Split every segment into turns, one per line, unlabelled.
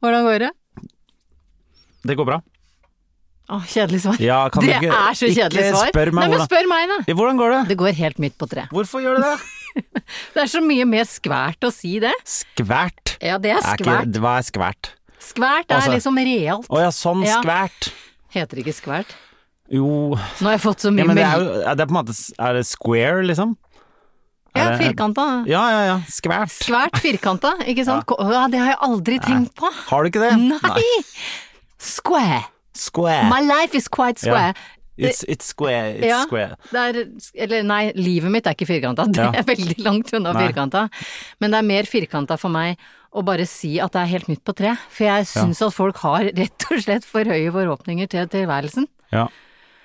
Hvordan går det?
Det går bra.
Å, kjedelig svar.
Ja, kan
det
du ikke,
er så kjedelig
ikke
svar.
Spør meg
Nei, men
hvordan,
spør meg, da.
Ja, hvordan går det?
Det går helt midt på tre.
Hvorfor gjør du det?
Det er så mye mer skvært å si det.
Skvært.
Ja, det er
Er
skvært.
ikke, hva er skvært?
Skvært er
Altså-
liksom realt.
Å ja, sånn
Ja.
skvært.
Heter det ikke skvært?
Jo
Nå har jeg fått så mye
ja, men det er,
melding-
jo, er det på en måte Er det square, liksom?
Ja,
er det-
firkanta.
Ja, ja, ja. Skvært.
Skvært firkanta, ikke sant? Ko- Ja, det har jeg aldri tenkt på.
Har du ikke det?
Nei! Square.
Square.
My life is quite square.
It's, it's square. It's
Ja,
square.
det er, eller nei, livet mitt er ikke firkanta, det
Ja.
er veldig langt unna
Nei.
firkanta. Men det er mer firkanta for meg å bare si at det er helt midt på tre, for jeg syns at folk har rett og slett for høye forhåpninger til tilværelsen.
Ja.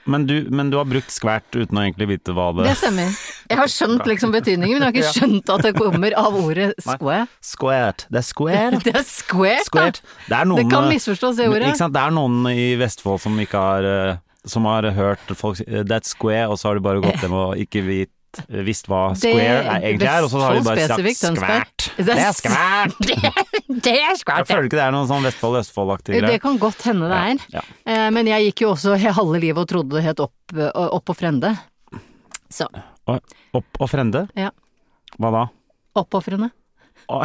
Men du, men du har brukt skvært uten å egentlig vite hva det
Det stemmer. Jeg har skjønt liksom betydningen, men jeg har ikke skjønt at det kommer av ordet square.
Squared. Det er square.
Det er square, da!
Squared. Det er noen eh,
Det kan misforstås, det ordet.
Ikke sant? Det er noen i Vestfold som ikke har eh, Som har hørt folk si eh, That's square, og så har de bare gått hjem og ikke vit, eh, visst hva square er, egentlig er, og så har de bare
Vestfold
sagt
spesifikt, Tønsberg.
skvært. Det er skvært!
Det er- det er
Jeg
skvært!
føler ikke det er noen sånn Vestfold-Østfold-aktig
Det
greie.
kan godt hende det er.
Ja,
Eh, Men jeg gikk jo også he- halve livet og trodde det het opp, eh, opp og frende. Så
Og, opp og frende?
ja,
Hva da?
oppofrende.
Å,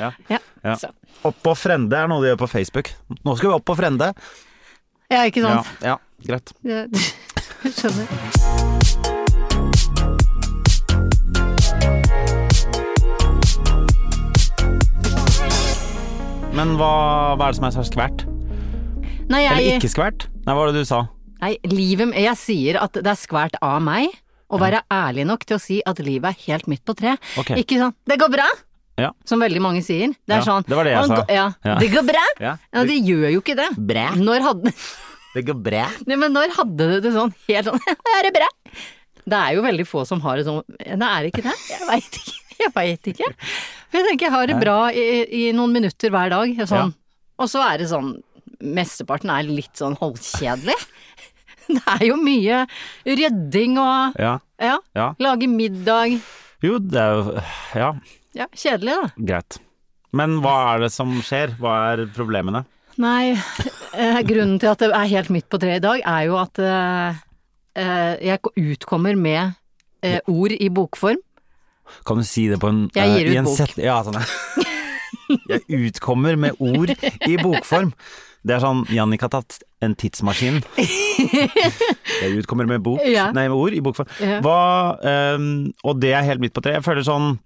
Ja.
Ja.
Så.
Opp og frende er noe de gjør på Facebook. Nå skal vi opp og frende.
ja, ikke sant?
Ja, ja, greit.
Det- Skjønner.
Men hva, hva er det som er så skvært?
Nei,
Eller
jeg,
ikke skvært? Nei, hva var det du sa?
nei, livet, jeg sier at det er skvært av meg å være ærlig nok til å si at livet er helt midt på tre.
Ok.
Ikke sånn 'det går bra',
Ja.
som veldig mange sier. Det er
Ja,
sånn
det var det jeg
«Å,
sa».
gå- Ja,
Ja.
'Det går bra'.
Ja.
Ja, det gjør jo ikke det.
Bra.
Når hadde,
Det går bra.
Nei, men når hadde du det sånn helt sånn Er det bra? Det er jo veldig få som har det sånn Nei, er det ikke det? Jeg veit ikke. Jeg vet ikke. For jeg tenker jeg har det bra i, i noen minutter hver dag. Sånn. Og så er det sånn Mesteparten er litt sånn halvkjedelig. Det er jo mye rydding og
Ja.
ja,
Ja.
lage middag.
Jo, det er jo Ja,
Ja, kjedelig da.
greit. Men hva er det som skjer? Hva er problemene?
Nei, eh, grunnen til at det er helt midt på treet i dag, er jo at eh, eh, jeg utkommer med eh, ord i bokform.
Kan du si det på en
Jeg
eh,
gir ut
i en
bok.
set- Ja, sånn. ja. Jeg utkommer med ord i bokform. Det er sånn Jannik har tatt en tidsmaskin. Jeg utkommer med bok
Ja.
Nei, med ord i bokform.
Ja.
Hva ehm, Og det er helt midt på treet. Jeg føler sånn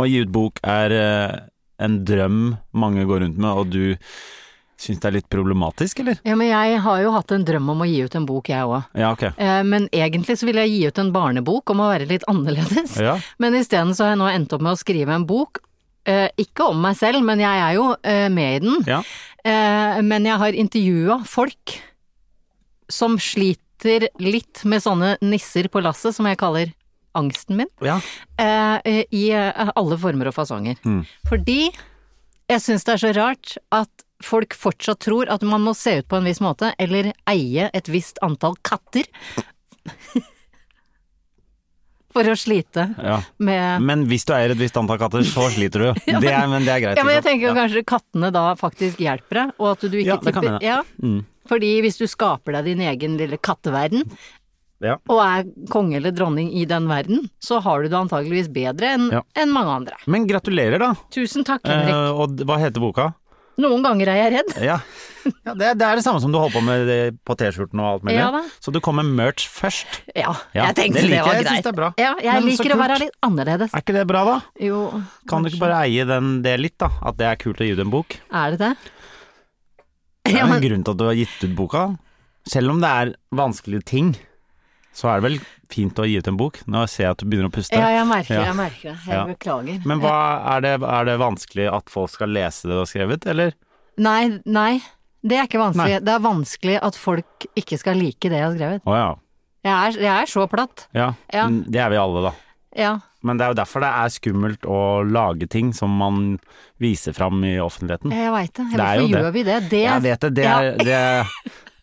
Å gi ut bok er eh, en drøm mange går rundt med, og du syns det er litt problematisk, eller?
Ja, men jeg har jo hatt en drøm om å gi ut en bok, jeg òg.
Ja, ok.
Men egentlig så ville jeg gi ut en barnebok om å være litt annerledes.
Ja.
Men isteden så har jeg nå endt opp med å skrive en bok. eh, Ikke om meg selv, men jeg er jo eh, med i den.
Ja.
Eh, Men jeg har intervjua folk som sliter litt med sånne nisser på lasset, som jeg kaller angsten min,
ja.
eh, i eh, alle former og fasonger.
Mm.
Fordi jeg syns det er så rart at folk fortsatt tror at man må se ut på en viss måte, eller eie et visst antall katter. For å slite
ja.
med
Men hvis du eier et visst antall katter, så sliter du. Det er, men det er greit.
Ja, men jeg
ikke sant?
tenker jo kanskje kattene da faktisk hjelper deg, og at du ikke
sånn, Ja, det kan
tipper
hende.
Ja,
Mm.
fordi hvis du skaper deg din egen lille katteverden,
Ja.
og er konge eller dronning i den verden, så har du det antageligvis bedre enn
Ja.
enn mange andre.
Men gratulerer, da.
Tusen takk,
Eh,
Henrik.
og d- hva heter boka?
Noen ganger er jeg redd.
Ja, ja det, er- det er det samme som du holder på med det, på T-skjorten og alt mulig.
Ja da.
så du kom med merch først.
Ja,
Ja,
jeg tenkte
det
det,
liker
var
jeg. Jeg
greit.
synes det er bra.
Ja, jeg
Men så
liker å være
kult.
litt annerledes.
Er ikke det bra, da?
Jo,
Kan du ikke bare eie den, det litt, da? At det er kult å gi ut en bok?
er det det?
Det er
Ja,
jo en
men,
grunn til at du har gitt ut boka. Selv om det er vanskelige ting. så er det vel fint å gi ut en bok. Nå ser jeg at du begynner å puste.
Ja, jeg merker,
Ja.
jeg merker det. Jeg
Ja.
beklager.
Men hva, er, det, er det vanskelig at folk skal lese det du har skrevet, eller?
Nei, nei. Det er ikke vanskelig. Det er vanskelig at folk ikke skal like det jeg har skrevet.
Å ja.
Jeg er, jeg er så platt.
ja.
Ja.
Mm, Det er vi alle, da.
Ja.
Men det er jo derfor det er skummelt å lage ting som man viser fram i offentligheten.
Jeg veit det.
Det er jo
Hvorfor gjør
det.
vi det? Det
Jeg vet det. Det
Ja.
er, det, er-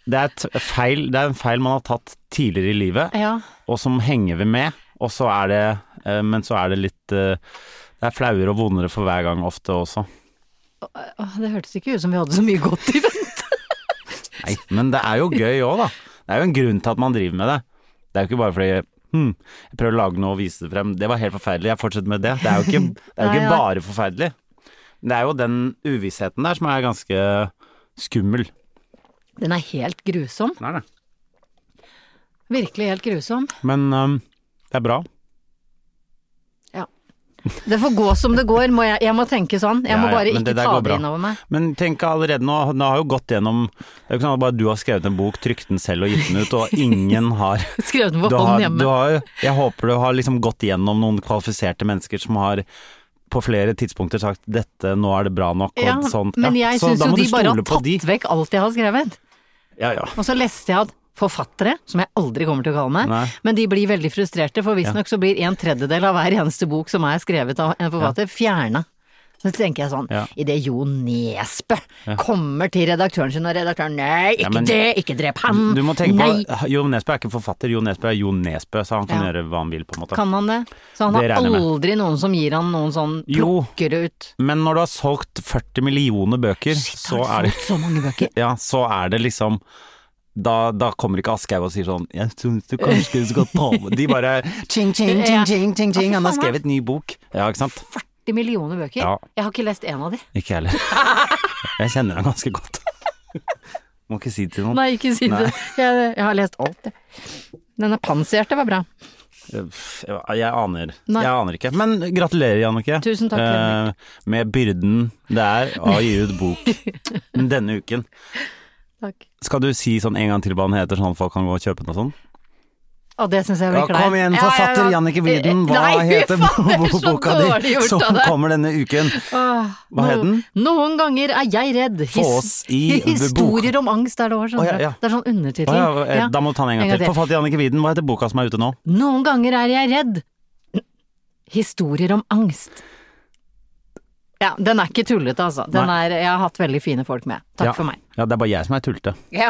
det, er et feil, det er en feil man har tatt tidligere i livet,
Ja.
og som henger vi med. Og så er det eh, Men så er det litt eh, Det er flauere og vondere for hver gang ofte også.
Åh, det hørtes ikke ut som vi hadde så mye godt i vente.
Nei, men det er jo gøy òg, da. Det er jo en grunn til at man driver med det. Det er jo ikke bare fordi hm, jeg prøver å lage noe og vise det frem. Det var helt forferdelig, jeg fortsetter med det. Det er jo ikke, det er jo
Nei,
ikke
nei.
bare forferdelig. Det er jo den uvissheten der som er ganske skummel.
Den er helt grusom. Virkelig helt grusom.
Men øhm, det er bra.
Det får gå som det går, må jeg, jeg må tenke sånn. Jeg
Ja,
må
ja,
bare
men
ikke
det der
ta
går
det
bra.
inn over meg.
Men tenk allerede nå, nå har jeg jo gått gjennom Det er jo ikke sånn at bare du har skrevet en bok, trykt den selv og gitt den ut, og ingen har
Skrev den på
du
hånd
har, du
hjemme.
har, jeg håper du har liksom gått gjennom noen kvalifiserte mennesker som har på flere tidspunkter sagt 'dette, nå er det bra nok' og
Ja,
sånt.
men
sånn. Ja,
jeg
så
syns
da
jo de
må du
bare har
stole på
tatt
de.
vekk alt jeg har skrevet.
Ja, ja.
Og så leste jeg at forfattere, som jeg aldri kommer til å kalle meg,
Nei.
men de blir veldig frustrerte, for visstnok så blir en tredjedel av hver eneste bok som er skrevet av en forfatter, fjerna. Så tenker jeg sånn,
Ja.
i idet Jo Nesbø kommer til redaktøren sin, og redaktøren nei, ikke
men-
det, ikke drep han,
Du må tenke
nei.
på Jo Nesbø er ikke forfatter, Jo Nesbø er Jo Nesbø, så han kan
Ja.
gjøre hva han vil, på en måte.
Kan han det? Så han
Det
har
regner jeg med.
aldri noen som gir han noen sånn
Jo.
plukker ut
Men når du har solgt 40 millioner bøker, så
Har
er
du
det
fått så mange bøker.
Ja, så er det liksom da, da kommer ikke Aschehoug og sier sånn 'Jeg syns du kanskje skal ta med De bare ching, ching, ching, ching, ching, ching.
Ja,
Han har
for faen,
skrevet ny bok. Ja, ikke sant?
40 millioner bøker.
Ja.
Jeg har ikke lest en av de.
Ikke jeg heller. Jeg kjenner han ganske godt. Må ikke si det til noen.
Nei, ikke si det. Jeg, jeg har lest alt, jeg. Denne panserte var bra.
Uff, Eh, Jeg aner.
Nei.
Jeg aner ikke. Men gratulerer, Jannicke.
Tusen takk, Henrik.
Eh, med byrden det er å gi ut bok denne uken.
Takk.
Skal du si sånn en gang til hva den heter, sånn at folk kan gå og kjøpe den og sånn?
Og det syns jeg
Ja, Eh,
blir kleint.
kom igjen, forfatter Jannicke Widen, hva
Eh, Nei, fy
heter
faen, det er så
boka
dårlig
di
gjort
som
av deg.
kommer denne uken?
Åh,
Hva het den?
no- Noen ganger er jeg redd. His-
Få oss i
Historier om angst er det også,
Å,
skjønner
ja,
du.
ja.
Det er sånn
Å
undertittel.
ja, eh,
Ja.
Da må du ta den en gang til. Forfatter Jannicke Widen, hva heter boka som er ute nå?
Noen ganger er jeg redd. Historier om angst. Ja, den er ikke tullete, altså. Den
Nei.
er, jeg har hatt veldig fine folk med. Takk
Ja.
for meg.
Ja, det er bare jeg som er tullete. Ja.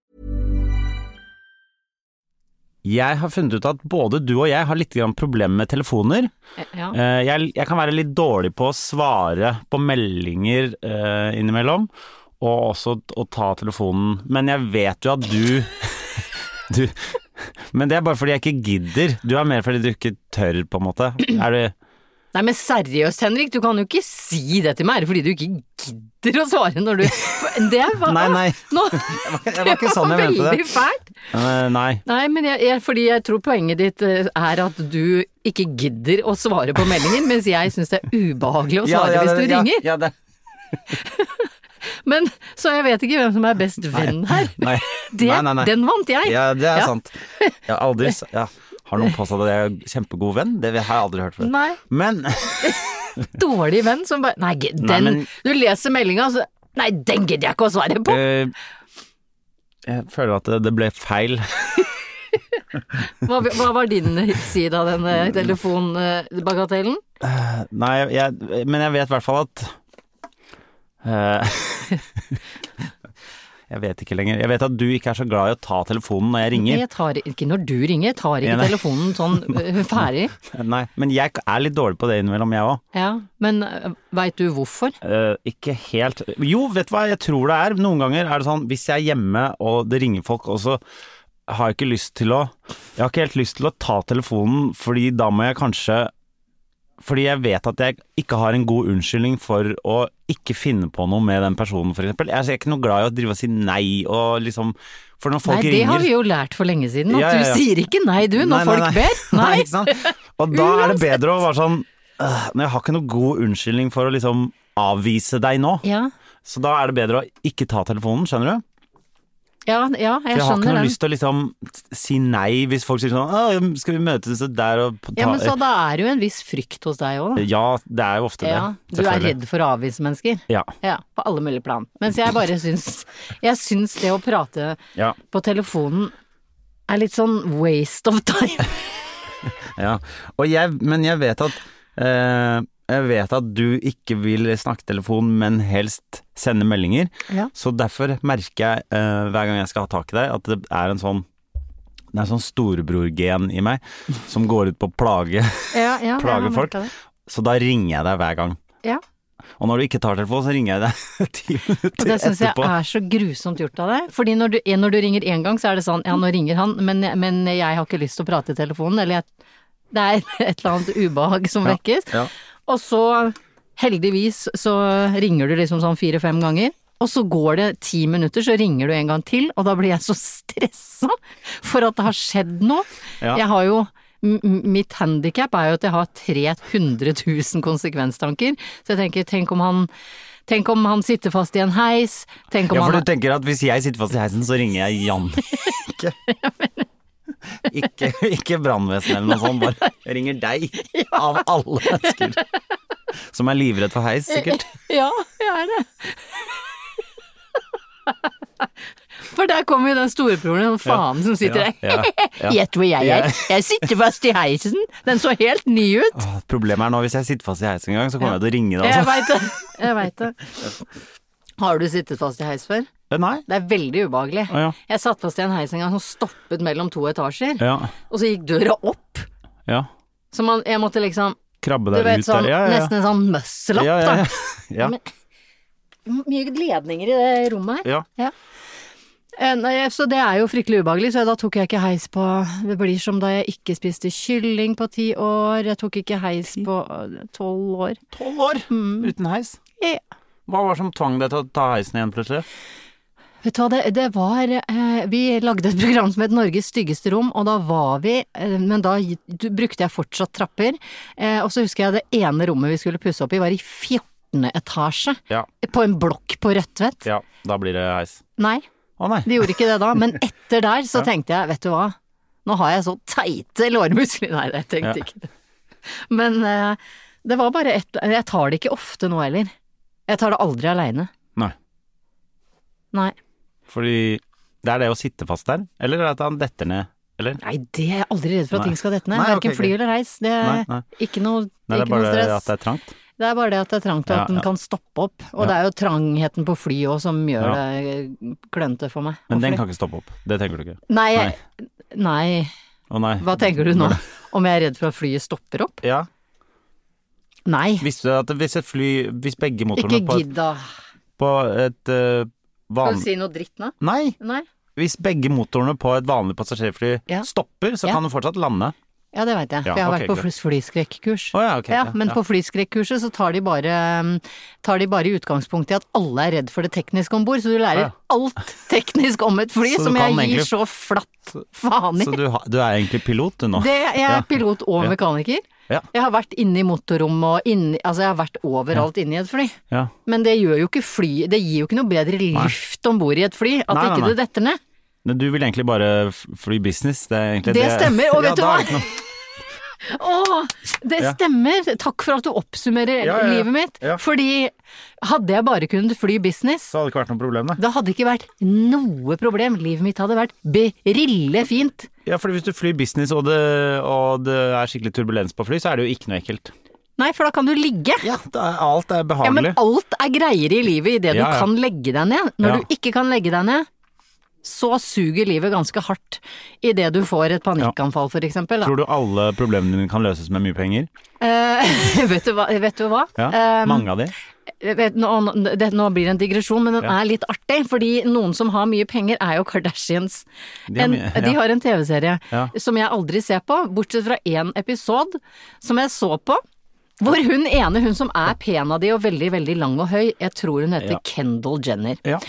Jeg har funnet ut at både du og jeg har litt grann problemer med telefoner.
Ja.
Eh, Jeg, jeg kan være litt dårlig på å svare på meldinger eh, innimellom, og også t- å ta telefonen. Men jeg vet jo at du, du Men det er bare fordi jeg ikke gidder. Du er mer fordi du ikke tør, på en måte. Er du
Nei, men seriøst, Henrik, du kan jo ikke si det til meg. Er det fordi du ikke gidder å svare når du Det var
Nei, nei.
Nå,
Det var ikke sånn jeg mente det.
Veldig fælt.
Eh, Nei.
Nei, men jeg, jeg, fordi jeg tror poenget ditt eh, er at du ikke gidder å svare på meldingen, mens jeg syns det er ubehagelig å svare hvis du ringer.
Ja, det.
Men Så jeg vet ikke hvem som er best venn her.
Nei.
Det,
nei, nei, nei.
Den vant jeg.
Ja, det er
Ja.
sant. Jeg har aldri s- ja. Har noen påstått at jeg er kjempegod venn? Det har jeg aldri hørt før.
Nei,
Men
dårlig venn som bare Nei, den
Nei, men-
Du leser meldinga, så Nei, den gidder jeg ikke å svare på!
Eh, jeg føler at det, det ble feil.
Hva, hva var din side av
Mm.
denne telefonbagatellen?
Nei, jeg, men jeg vet i hvert fall at eh, Jeg vet ikke lenger. Jeg vet at du ikke er så glad i å ta telefonen når jeg ringer.
Jeg tar ikke når du ringer, jeg tar
Ja,
ikke
nei.
telefonen sånn øh, ferdig.
Nei, Men jeg er litt dårlig på det innimellom, jeg òg.
Ja, men øh, veit du hvorfor?
Eh, ikke helt Jo, vet du hva jeg tror det er? Noen ganger er det sånn hvis jeg er hjemme og det ringer folk, og så har jeg ikke lyst til å Jeg har ikke helt lyst til å ta telefonen, fordi da må jeg kanskje fordi jeg vet at jeg ikke har en god unnskyldning for å ikke finne på noe med den personen, f.eks. Jeg er ikke noe glad i å drive og si nei og liksom For når folk
nei, det
ringer
har vi jo lært for lenge siden. At
Ja, ja, ja.
du sier ikke nei, du, når
Nei, nei,
folk
nei.
ber.
Nei,
Nei.
ikke sant? Og da er det bedre å være sånn «Åh, Men jeg har ikke noe god unnskyldning for å liksom avvise deg nå.
Ja,
Så da er det bedre å ikke ta telefonen, skjønner du?
ja, ja jeg,
For jeg har ikke
skjønner
noe
den.
lyst til å liksom si nei hvis folk sier sånn «Åh, Skal vi møtes der og ta
Ja, men sånn. så da er det jo en viss frykt hos deg òg, da.
Ja, det er jo ofte
Ja,
det.
du er
selvfølgelig.
redd for å avvise mennesker.
Ja.
Ja, på alle mulige plan. Mens jeg bare syns Jeg syns det å prate
Ja,
på telefonen er litt sånn waste of time.
ja. Og jeg, men jeg vet at eh, Jeg vet at du ikke vil snakke telefon, men helst sende meldinger.
Ja.
Så derfor merker jeg eh, hver gang jeg skal ha tak i deg, at det er en sånn det er en sånn storebror-gen i meg som går ut på å plage,
Ja, ja, jeg har
plage folk.
merket det.
Så da ringer jeg deg hver gang.
Ja.
Og når du ikke tar telefonen, så ringer jeg deg ti
Og
minutter
det syns jeg
etterpå.
er så grusomt gjort av deg. Fordi når du, når du ringer én gang, så er det sånn ja, nå ringer han, men, men jeg har ikke lyst til å prate i telefonen, eller jeg, det er et eller annet ubehag som
Ja,
vekkes.
ja.
Og så, heldigvis, så ringer du liksom sånn fire-fem ganger. Og så går det ti minutter, så ringer du en gang til, og da blir jeg så stressa for at det har skjedd noe.
Ja.
Jeg har jo m- m- Mitt handikap er jo at jeg har 300 000 konsekvenstanker, så jeg tenker tenk om han Tenk om han sitter fast i en heis, tenk om
Ja, for
han
du tenker at hvis jeg sitter fast i heisen, så ringer jeg Jan. Ikke, ikke, ikke brannvesenet eller noe sånt, bare jeg ringer deg. Av alle mennesker. Som er livredd for heis, sikkert.
Ja, jeg er det. For der kommer jo den storebroren, den faen som sitter
Ja,
der.
ja, ja.
Gjett hvor jeg er. Jeg sitter fast i heisen. Den så helt ny ut.
Åh, Problemet er nå, hvis jeg sitter fast i heisen en gang, så kommer jeg til å ringe deg.
Jeg
Altså.
veit det. Jeg vet det. Har du sittet fast i heis før?
Nei.
Det er veldig ubehagelig.
Å, ja.
Jeg satt fast i en heis en gang som stoppet mellom to etasjer,
Ja.
og så gikk døra opp.
ja.
Så man, jeg måtte liksom,
Krabbe
du
deg
vet
ut
sånn,
der. Ja, ja, ja.
nesten en sånn muscle
ja,
up,
ja,
da.
ja. ja.
Men- Mye ledninger i det rommet her.
Ja.
Eh, Nei, så det er jo fryktelig ubehagelig, så da tok jeg ikke heis på Det blir som da jeg ikke spiste kylling på ti år, jeg tok ikke heis på eh, tolv år.
Tolv år uten heis.
Mm. Ja.
Hva var det som tvang deg til å ta heisen igjen plutselig?
Vet du hva, det, det var eh, Vi lagde et program som het Norges styggeste rom, og da var vi eh, Men da gi- du, brukte jeg fortsatt trapper. Eh, og så husker jeg det ene rommet vi skulle pusse opp i, var i 14. etasje.
Ja.
På en blokk på Rødtvet.
Ja, da blir det heis.
Nei.
Å nei.
De gjorde ikke det da, men etter der så tenkte jeg, vet du hva, nå har jeg så teite lårmuskler. Nei, jeg tenkte
Ja.
ikke det. Men eh, det var bare ett Jeg tar det ikke ofte nå heller. Jeg tar det aldri aleine.
Nei.
Nei.
Fordi det er det å sitte fast der, eller at han detter ned, eller?
Nei, det er jeg aldri redd for at
Nei.
ting skal dette ned.
Nei, ok,
Verken fly
greit.
eller reis. Det er
Nei, nei.
ikke noe,
Nei, det er
ikke noe
bare
stress.
at det er trangt.
Det er bare det at det er trangt, og
Ja,
at den
ja.
kan stoppe opp. Og
Ja.
det er jo trangheten på fly òg som gjør
Ja.
det eh, klønete for meg.
Men
å
den
fly.
kan ikke stoppe opp, det tenker du ikke.
Nei, jeg- nei,
Å nei.
hva tenker du nå? Om jeg er redd for at flyet stopper opp?
Ja,
Nei.
visste du at hvis et fly, hvis begge motorene
Ikke
på,
gidd, da.
på et
Skal
eh,
du
vanlig...
si noe dritt nå?
Nei,
Nei?
hvis begge motorene på et vanlig passasjerfly
Ja.
stopper, så
Ja.
kan du fortsatt lande.
Ja, det veit jeg,
Ja,
for jeg har vært
ok,
på fly- flyskrekkurs.
Å ja, ok,
ja,
ja,
men
ja.
på flyskrekkurset så tar de, bare, um, tar de bare i utgangspunkt i at alle er redd for det tekniske om bord, så du lærer
Ja.
alt teknisk om et fly
Så du
som
kan
jeg gir
egentlig-
så flatt faen i.
Så du, ha- du er egentlig pilot du nå?
Det, jeg
Ja.
er pilot og
Ja.
mekaniker.
Ja.
Jeg har vært inne i motorrommet og inni Altså, jeg har vært overalt inne i et fly.
Ja.
Men det gjør jo ikke fly Det gir jo ikke noe bedre luft om bord i et fly at
Nei, nei,
ikke
nei.
det detter ned.
Men du vil egentlig bare f- fly business? Det, er egentlig
Det stemmer, og
Ja,
vet du
da
hva?
er det ikke noe-
Å, det
Ja.
stemmer! Takk for at du oppsummerer
Ja, ja, ja.
livet mitt.
Ja.
Fordi hadde jeg bare kunnet fly business,
Så hadde det ikke vært noe problem, det.
da hadde det ikke vært noe problem. Livet mitt hadde vært brille fint.
Ja, for hvis du flyr business og det, og det er skikkelig turbulens på fly, så er det jo ikke noe ekkelt.
Nei, for da kan du ligge.
Ja, det er, alt er
Ja, men
behagelig.
alt er greiere i livet idet
Ja, ja.
du kan legge deg ned. Når
Ja.
du ikke kan legge deg ned, så suger livet ganske hardt idet du får et panikkanfall, for eksempel. Da.
Tror du alle problemene dine kan løses med mye penger?
Eh, vet, du hva, vet du hva?
Ja,
Eh,
Mange av de?
vet, nå, nå- det, nå blir det en digresjon, men den
Ja.
er litt artig. Fordi noen som har mye penger, er jo Kardashians.
De har
En,
mye- ja.
De har en TV-serie
Ja.
som jeg aldri ser på, bortsett fra én episode som jeg så på. Hvor hun ene, hun som er pen av de og veldig, veldig lang og høy, jeg tror hun heter
Ja.
Kendal Jenner.
Ja.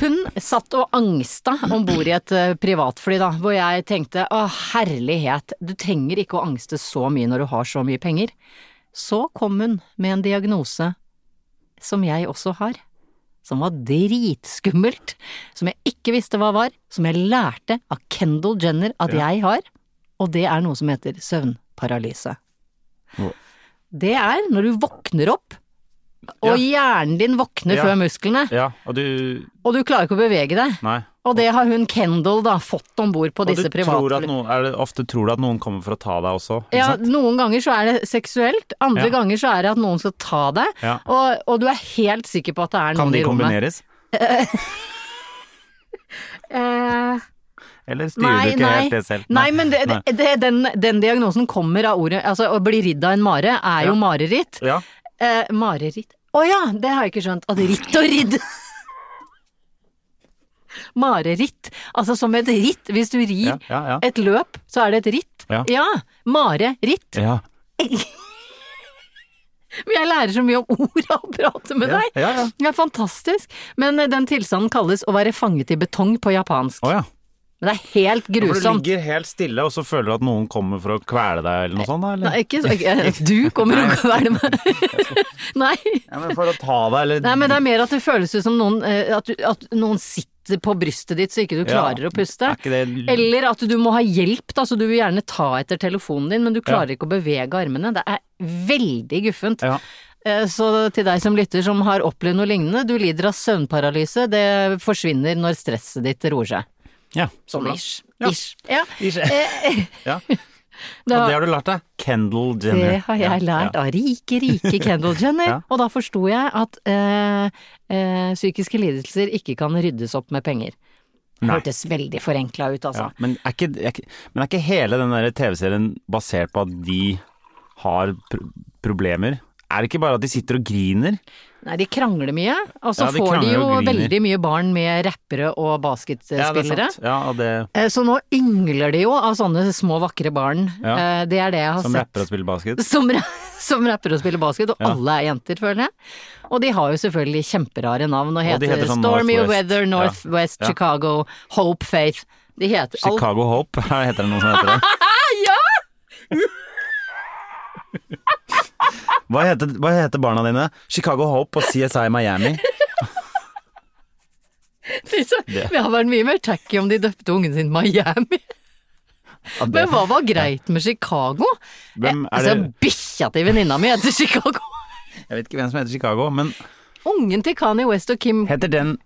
Hun satt og angsta om bord i et eh, privatfly, da, hvor jeg tenkte å herlighet, du trenger ikke å angste så mye når du har så mye penger. Så kom hun med en diagnose som jeg også har, som var dritskummelt, som jeg ikke visste hva var, som jeg lærte av Kendal Jenner at jeg har, og det er noe som heter søvnparalyse.
Hva?
Det er når du våkner opp, og hjernen din våkner
Ja.
før musklene,
ja, og du
og du klarer ikke å bevege deg.
Nei.
Og det har hun Kendal da fått om bord på
Og du
disse
tror at
privatfly.
noen, er det, ofte tror du at noen kommer for å ta deg også. ikke
Ja,
sant?
noen ganger så er det seksuelt, andre
Ja.
ganger så er det at noen skal ta deg,
Ja.
og, og du er helt sikker på at det er
Kan
noen
de
i rommet.
kombineres?
Eh,
Eller styrer
nei,
du ikke
nei.
helt det selv?
nei, men det, det, det, den, den diagnosen kommer av ordet Altså, å bli ridd av en mare er
Ja.
jo mareritt.
Ja.
Eh, mareritt Å ja, det har jeg ikke skjønt. At ritt og ridd Mareritt. Altså som et ritt. Hvis du rir
Ja, ja, ja.
et løp, så er det et ritt.
Ja.
ja mareritt.
Ja.
Men Jeg lærer så mye om ord av å prate med
Ja,
deg.
ja, ja.
Det er fantastisk. Men eh, den tilstanden kalles å være fanget i betong på japansk.
Å ja.
Men det er helt
Ja, For du
grusomt.
ligger helt stille, og så føler du at noen kommer for å kvele deg, eller noe sånt? da, Eller?
Nei, ikke så ikke- Du kommer og kveler meg. Nei.
Ja, men for å ta deg, eller
Nei, men det er mer at det føles ut som noen, eh, at, du, at noen sitter på brystet ditt så ikke du
Ja,
klarer å puste.
Er ikke det
Eller at du må ha hjelp, da, så du vil gjerne ta etter telefonen din, men du klarer ikke å bevege armene. Det er veldig guffent.
ja.
Eh, Så til deg som lytter som har opplevd noe lignende, du lider av søvnparalyse, det forsvinner når stresset ditt roer seg.
ja. så
Sånn
bra.
ish.
Ja.
Ish. Ja. Eh,
Ish. Ja.
Da,
Og det har du lært deg? Kendal Jenner.
det har jeg
Ja,
lært av rike, rike Kendal Jenner.
Ja.
Og da forsto jeg at eh, eh, psykiske lidelser ikke kan ryddes opp med penger. Det
Nei.
hørtes veldig forenkla ut,
Ja.
altså.
Men, er ikke, er ikke, men er ikke hele den der TV-serien basert på at de har pr problemer? Er det ikke bare at de sitter og griner?
Nei, de krangler mye, og så
Ja, de
får de
krangler
jo
og griner.
veldig mye barn med rappere og
Ja, det er
basketspillere.
sant. Ja, og det,
Eh, Så nå yngler de jo av sånne små vakre barn.
Ja.
Eh, Det er det jeg har
som
sett.
rapper og spiller basket.
Som, ra- som rapper og spiller basket, og
Ja.
alle er jenter, føler jeg. Og de har jo selvfølgelig kjemperare navn, og
Og de
heter,
heter sånn
Stormy
Northwest.
Weather,
Ja.
Northwest,
Ja.
Chicago, Hope Faith. De heter alt.
Chicago Hope, heter det noe som heter det? ja! hva, heter, hva heter barna dine? Chicago Hope og CSI Miami.
Det har vært mye mer tacky om de døpte ungen sin Miami.
Ja, det-
Men hva var greit med Chicago?
Hvem
Eh,
er
altså,
det-
bikkja til venninna mi heter Chicago.
Jeg vet ikke hvem som heter Chicago, men
Ungen til Kanye West og Kim
heter den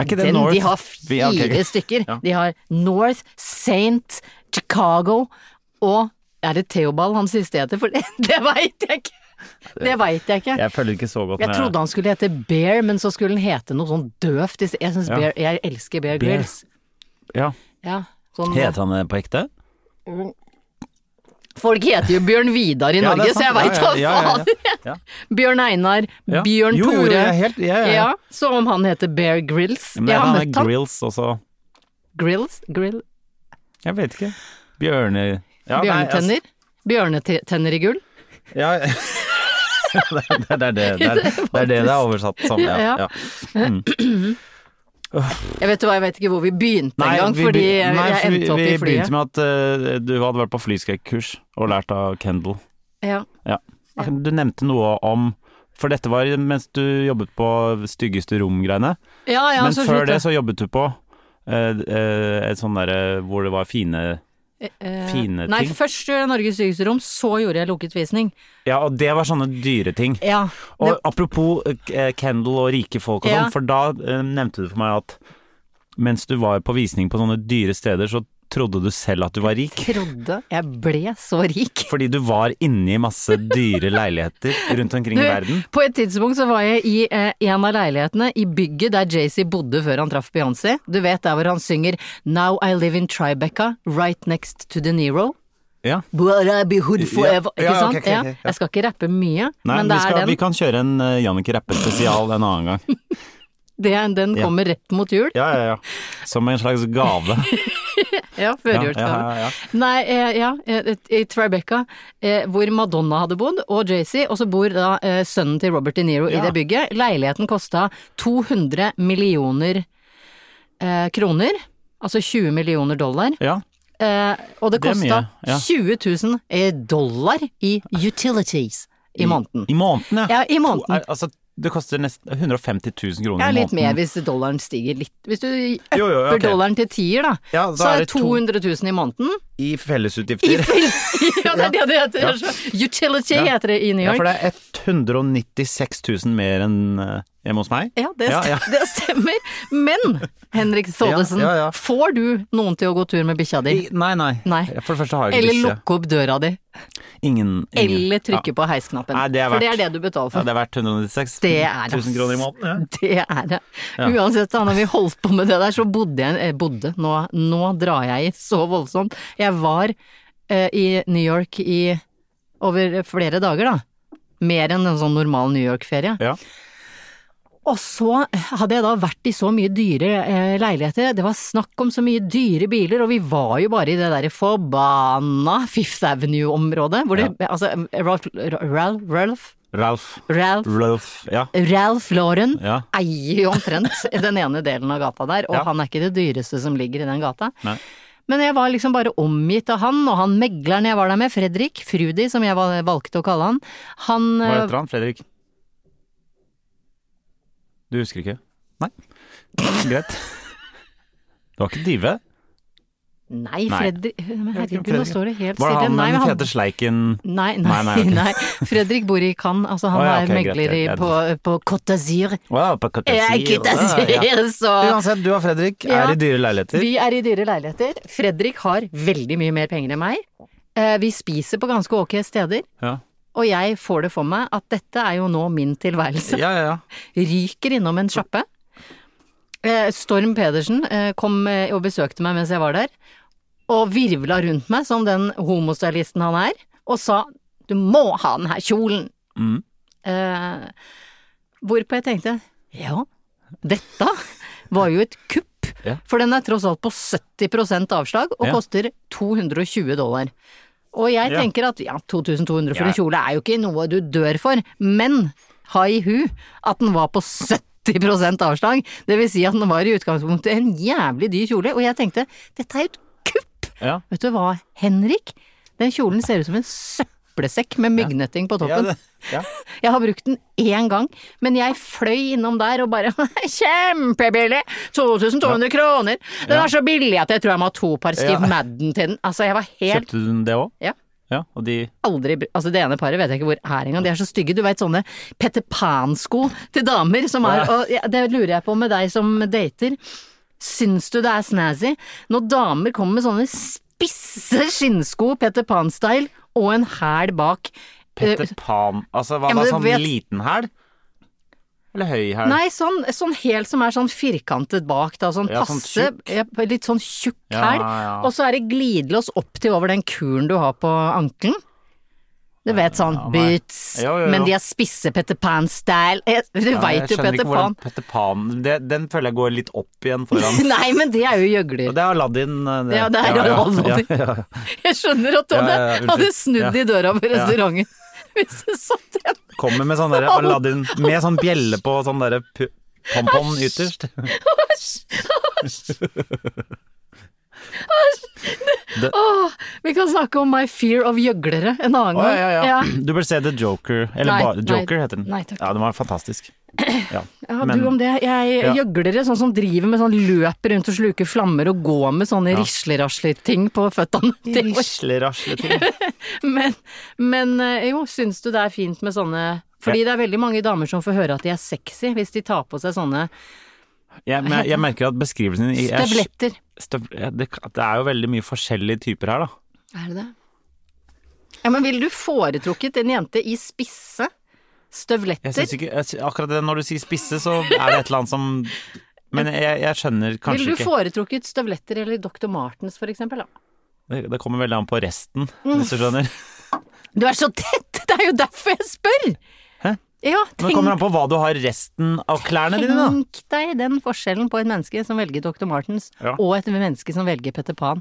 Er ikke det
Den,
North?
de har
Vi- ja,
fire
ok, ok.
stykker.
Ja.
De har North, Saint, Chicago og Er det Theobald han siste heter? For det, det veit jeg ikke! Det veit jeg ikke.
Jeg følger ikke så godt
Jeg trodde han skulle hete Bear, men så skulle han hete noe sånn døvt. Jeg, synes
Ja.
Bear, jeg elsker Bear,
Bear.
Grylls.
ja.
Ja, sånn,
Heter han det på ekte?
folk heter jo Bjørn Vidar i
Ja, det
Norge,
er sant.
så jeg veit
Ja,
hva
ja, ja, ja,
fader!
ja.
Bjørn Einar,
Ja.
Bjørn
Jo, jo, jo,
Tore.
jeg er helt- ja, ja, ja.
Så om han heter Bear Grylls
Men
Jeg har
han er
møtt han.
Grills også.
Grills? Grill,
Jeg vet ikke. Bjørne... Ja, nei, altså-
bjørnetenner? Bjørnetenner i gull?
Ja, det, er- det, er det, det, er, det er det det er oversatt som. Ja,
Ja.
ja.
Jeg vet, hva, jeg vet ikke hvor vi begynte
Nei,
engang,
vi
fordi
be-
jeg,
nei,
jeg
for vi-
endte opp i
Vi begynte
flyet.
med at eh, du hadde vært på flyskrekkurs og lært av Kendal.
Ja.
Ja. Ah, Du nevnte noe om For dette var mens du jobbet på styggeste rom-greiene.
Ja, ja,
Men
så
før
slutt,
det
det.
så jobbet du på eh, eh, et sånn derre hvor det var fine
eh,
Fine
Nei,
ting.
først gjorde jeg Norges styggeste rom, så gjorde jeg lukket visning.
Ja, og det var sånne dyre ting.
Ja.
Og
Det,
apropos eh, Kendall og rike folk og
Ja.
sånn, for da eh, nevnte du for meg at mens du var på visning på sånne dyre steder, så trodde du selv at du var rik.
trodde jeg ble så rik.
Fordi du var inne i masse dyre leiligheter rundt omkring i verden.
På et tidspunkt så var jeg i eh, en av leilighetene i bygget der Jay-Z bodde før han traff Beyoncé. Du vet der hvor han synger Now I live in Tribeca, right next to De Niro.
Ja.
Will I be hood forever?
Ja,
ikke
ja,
sant?
ok, ok, ok, ja.
Ja. Jeg skal ikke rappe mye,
Nei,
men
vi,
det er
skal, vi
den.
kan kjøre en uh, Jannicke Rappe-spesial en annen gang.
Det, er- den
Ja.
kommer rett mot jul.
Ja, ja, ja. Som en slags gave.
Ja,
Ja, ja,
førjulsgave.
ja, ja.
Nei, eh, ja, eh, i Tribeca, eh, hvor Madonna hadde bodd, og Jay-Z, og så bor da eh, sønnen til Robert De Niro
Ja.
i det bygget. Leiligheten kosta 200 millioner eh, kroner, altså 20 millioner dollar.
ja.
Eh, og det
Det er
kosta
mye, ja.
20 000 eh, dollar i utilities i måneden.
I måneden, ja.
Ja, i måneden.
To- er- altså, det koster nesten 150 000 kroner
Ja,
i
litt
måneden.
mer hvis dollaren stiger litt. Hvis du øpper
Jo, jo, ok.
dollaren til tier, da,
Ja, da
så
er
er
det
det
to-
200 000 i måneden.
I
I
fellesutgifter.
fil- ja, det er det det heter. Utility
Ja.
heter det i New
Ja,
York.
for det er 196 000 mer enn eh, hjemme hos meg.
Ja, det,
Ja,
st-
ja.
det stemmer. Men, Henrik Soddesen,
Ja, ja, ja.
får du noen til å gå tur med bikkja di?
I- Nei, nei.
Nei.
For det første har jeg
Eller
ikke bikkje.
lukke opp døra di?
Ingen, ingen.
Eller trykke
ja.
på heisknappen?
Nei, det er
For det
verdt-
er det du betaler
Ja,
for.
det er verdt 196
Det er
000 kroner i måneden. Ja.
Det er det. Uansett, da når vi holdt på med det der, så bodde jeg eh, bodde, nå, nå drar jeg i så voldsomt. Jeg var eh, i New York i over flere dager, da. Mer enn en sånn normal New York-ferie.
Ja.
Og så hadde jeg da vært i så mye dyre eh, leiligheter, det var snakk om så mye dyre biler, og vi var jo bare i det derre forbanna Fifth Avenue-området, hvor det Altså, Ralph, Ralph, Ralph,
Ralph.
Ralph
Ralph. Ja.
Ralph Lauren
Ja.
eier jo omtrent den ene delen av gata der, og
Ja.
han er ikke det dyreste som ligger i den gata.
Nei.
Men jeg var liksom bare omgitt av han, og han megleren jeg var der med, Fredrik Frudi, som jeg val- valgte å kalle han, han
Hva
eh,
heter han, Fredrik? Du husker ikke? Nei. Greit. Det var ikke Dive.
Nei,
Nei.
Fredrik Men
Jeg vet ikke om
herregud, nå
Fredrik-
står det helt
Var det
stille.
han
Nei,
med
men
den fete sleiken
Nei, nei,
Nei,
nei,
nei, ok.
Fredrik bor i Cannes, altså han
Å ja,
er
ok, greit,
megler i,
greit, greit.
på, på Côte d'Azur.
Wow, på Côte
Jeg er
d'Azur.
Côte
Ja, ja.
d'Azur, så
Uansett, du og Fredrik
Ja.
er i dyre leiligheter.
Vi er i dyre leiligheter. Fredrik har veldig mye mer penger enn meg. Eh, Vi spiser på ganske ok steder,
Ja.
og jeg får det for meg at dette er jo nå min tilværelse.
ja, ja, ja.
Ryker innom en sjappe. Eh, Storm Pedersen eh, kom eh, og besøkte meg mens jeg var der, og virvla rundt meg som den homostylisten han er, og sa du må ha den her kjolen.
Mm.
Eh, hvorpå jeg tenkte ja, dette var jo et kupp,
Ja.
for den er tross alt på 70 avslag og
Ja.
koster 220 dollar. Og jeg
Ja.
tenker at ja, 2200 for
Ja.
en kjole er jo ikke noe du dør for, men ha i hu at den var på 70 avslag, det vil si at den var i utgangspunktet en jævlig dyr kjole, og jeg tenkte dette er jo et kupp!
Ja.
Vet du hva, Henrik? Den kjolen ser ut som en søppelsekk med myggnetting på toppen.
ja.
Jeg har brukt den én gang, men jeg fløy innom der og bare Kjempebillig! 2200 kroner! Den
Ja.
er så billig at jeg tror jeg må ha to par Steve
Ja.
Madden til den. Altså, jeg var helt
Kjøpte du den det òg?
Ja.
ja. Og de
aldri br- Altså, det ene paret vet jeg ikke hvor er engang. De er så stygge. Du veit sånne Petter Pan-sko til damer som er Og ja, det lurer jeg på med deg som dater. Syns du det er snazzy når damer kommer med sånne spisse skinnsko, Petter Pan-style, og en hæl bak? eh,
Petter Pan Altså, hva
Ja,
da?
men du
Sånn
vet-
liten hæl? Eller høy hæl?
Nei, sånn, sånn helt som er sånn firkantet bak, da, sånn
Ja, sånn
passe, ja, litt sånn tjukk
Ja,
her.
ja.
Og så er det glidelås opp til over den kuren du har på ankelen. Du vet sånn
Ja, nei.
boots,
Jo, jo, jo.
men de er spisse Petter Pan-style. Eh, Du
Ja,
veit jo
jeg skjønner
Petter
ikke
Pan.
hvordan Petter Pan det, Den føler jeg går litt opp igjen foran.
Nei, men det er jo
Og
gjøgler.
det er Aladdin. eh,
Ja, det er Aladdin. Jeg skjønner at du
Ja,
hadde,
ja, ja, unnskyld.
hadde snudd
Ja.
i døra på
Ja.
restauranten hvis det satt en
Kommer med sånn derre Aladdin med sånn bjelle på sånn derre pu- pom-pom ytterst.
Åh, vi kan snakke om my fear of gjøglere en annen
Å,
gang.
ja, ja, ja. Du bør se The Joker. Eller
Nei,
bare
nei.
Joker heter den.
Nei, takk.
Ja, den var fantastisk. Ja.
Ja,
Men-
du om det. Jeg
Ja.
gjøglere, sånn som driver med sånn løper rundt og sluker flammer og går med sånne rislerasler-ting på føttene. Det var-
Rislerasleting.
Men, men eh, jo, syns du det er fint med sånne Fordi det er veldig mange damer som får høre at de er sexy hvis de tar på seg sånne
Jeg, men jeg merker at beskrivelsen i- jeg-
støvletter.
Støv, ja, det, det er jo veldig mye forskjellige typer her, da.
Er det det? Ja, men ville du foretrukket en jente i spisse
Jeg
støvletter?
synes ikke, jeg, sy- akkurat det når du sier spisse, så er det et eller annet som Men jeg, jeg skjønner kanskje
Ville du
ikke.
foretrukket støvletter eller Dr. Martens for eksempel? Da?
Det, det kommer veldig an på resten,
Mm.
hvis du skjønner.
Du er så tett! Det er jo derfor jeg spør!
Hæ?
Ja,
Men det
tenk,
kommer an på hva du har resten av klærne dine, da.
tenk deg den forskjellen på et menneske som velger Dr. Martens,
Ja.
og et menneske som velger Petter Pan.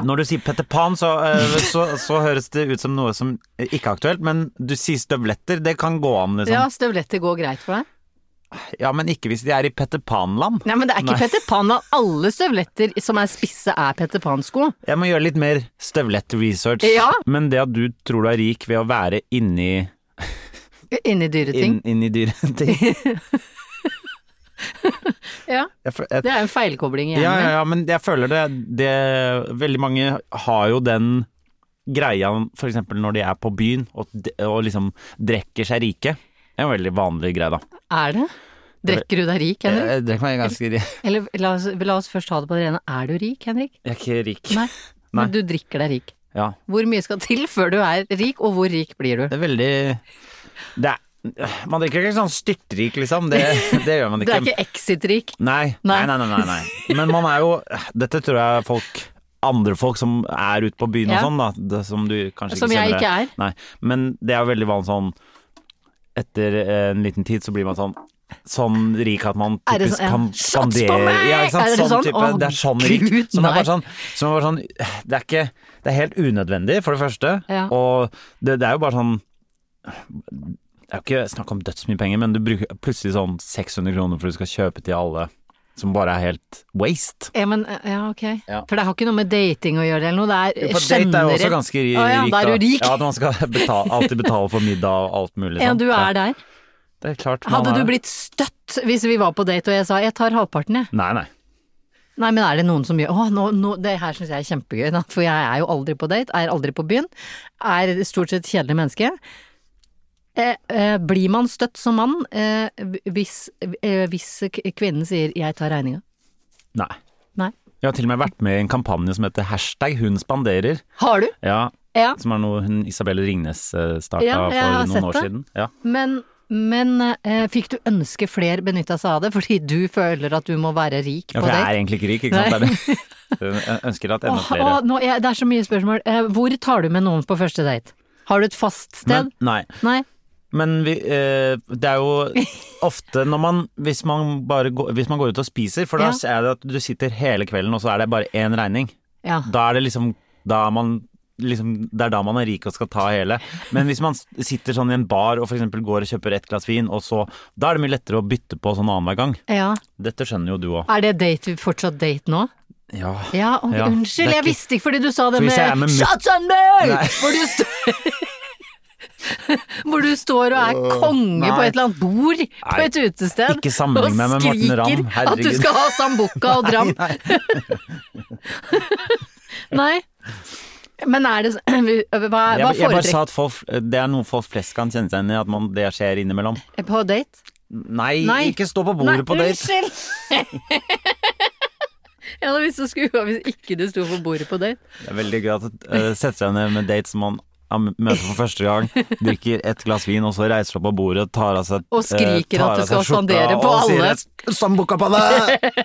Når du sier Petter Pan, så, eh, så, så høres det ut som noe som ikke er aktuelt, men du sier støvletter, det kan gå an,
Ja,
liksom.
støvletter går greit for deg?
Ja, men ikke hvis de er i Petter Pan-land.
Nei, men det er ikke
Nei.
Petter Pan. da. Alle støvletter som er spisse, er Petter Pan-sko.
Jeg må gjøre litt mer støvlett-research.
Ja.
Men det at du tror du er rik ved å være inni
Inni dyre ting.
inn, inni dyre ting
Ja,
Jeg fø- jeg-
det er jo en feilkobling i
Ja, ja,
hjernen.
ja, men jeg føler det, det Veldig mange har jo den greia f.eks. når de er på byen og, d- og liksom drikker seg rike. Det er en veldig vanlig greie, da.
Er det? Drikker du deg rik, Henrik?
Jeg drikker meg ganske rik.
Eller la oss, la oss først ta det på det rene. Er du rik, Henrik?
Jeg er ikke rik.
Nei.
Nei.
Men du drikker deg rik.
Ja.
Hvor mye skal til før du er rik, og hvor rik blir du?
Det er veldig det er, Man drikker ikke sånn styrtrik, liksom. Det, det gjør man
Du
ikke.
er ikke exit-rik.
Nei. Nei.
Nei.
Nei, nei, nei, nei. Men man er jo Dette tror jeg folk andre folk som er ute på byen
Ja.
og sånn, da, det, som du kanskje
Som
ikke
jeg
kjenner
ikke er.
Nei. Men det er jo veldig vanlig sånn Etter eh, en liten tid så blir man sånn Sånn rik at man
Er det
typisk
sånn, ja.
kan
Shots på
spandere
meg!
ja, ikke sant?
Er det sånn?
type,
Å,
Det er sånn rik.
Gud,
Som er
nei.
bare sånn, som er bare sånn Det er ikke Det er helt unødvendig, for det første.
Ja.
Og det, det er jo bare sånn det er jo ikke snakk om dødsmye penger, men du bruker plutselig sånn 600 kroner for du skal kjøpe til alle, som bare er helt waste.
Ja, men, eh, ja, ok.
Ja.
For det har ikke noe med dating å gjøre eller noe, det er
På date er jo også
generelt.
ganske ri-
Å ja,
rikt.
da er du rik.
Ja, at man skal betale, alltid betale for middag og alt mulig.
Ja,
sånn.
du er der.
Det er klart. man
Hadde
er-
du blitt støtt hvis vi var på date og jeg sa 'jeg tar halvparten', jeg?
Nei, nei.
Nei, men er det noen som gjør Å, nå, nå, det her syns jeg er kjempegøy, da, for jeg er jo aldri på date, er aldri på byen, er stort sett kjedelig menneske. Eh, eh, blir man støtt som mann eh, hvis, eh, hvis k- kvinnen sier 'jeg tar regninga'?
Nei.
Nei.
Jeg har til og med vært med i en kampanje som heter hashtag hun spanderer.
Har du?
Ja,
Ja.
som er noe hun Isabel Ringnes eh, starta
Ja, jeg har
for noen
sett
år
det.
siden. Ja.
Men, men eh, fikk du ønske fler benytta seg av det, fordi du føler at du må være rik
ja,
på
for jeg er
date?
egentlig ikke rik, ikke sant.
Nei.
Det er det. Jeg ønsker at enda
Åh,
flere
åh, nå, er- det er så mye spørsmål. Eh, hvor tar du med noen på første date? Har du et fast sted?
Men, nei.
Nei?
Men vi, eh, det er jo ofte når man Hvis man, bare går, hvis man går ut og spiser, for da
Ja.
er det at du sitter hele kvelden, og så er det bare én regning.
Ja.
Da er det liksom Da er man Liksom, det er da man er rik og skal ta hele. Men hvis man s- sitter sånn i en bar og for eksempel går og kjøper ett glass vin, og så Da er det mye lettere å bytte på sånn annenhver gang.
ja.
Dette skjønner jo du òg.
Er det date, fortsatt date nå?
Ja.
Ja, ok,
Ja, det
unnskyld,
er
jeg
ikke-
visste ikke fordi du sa det
For hvis
med,
jeg er med mu-
Shots on me!
Nei.
Hvor du, sto- hvor du står og er konge på et
nei.
eller annet bord på
Nei,
et utested
ikke sammenlign meg med Morten Ramm,
og skriker at du
herregud.
skal ha sambuca og dram. Nei, Men er det så- Hva, hva
Jeg, jeg bare sa
foretrekker
at folk, det er noe folk flest kan kjenne seg igjen i, at man, det skjer innimellom.
på date?
Nei,
Nei.
ikke stå på
Nei,
bordet på date!
Unnskyld! Jeg hadde visst det skulle hvis ikke du sto på bordet på date.
Det er veldig gøy at uh, setter seg ned med date som man har m- møter for første gang, drikker et glass vin, og så reiser seg opp av bordet, tar av seg eh,
Og skriker
tar
at du
av seg
skal
skjorta,
spandere på
og
alle.
sier «Sambuca på deg!»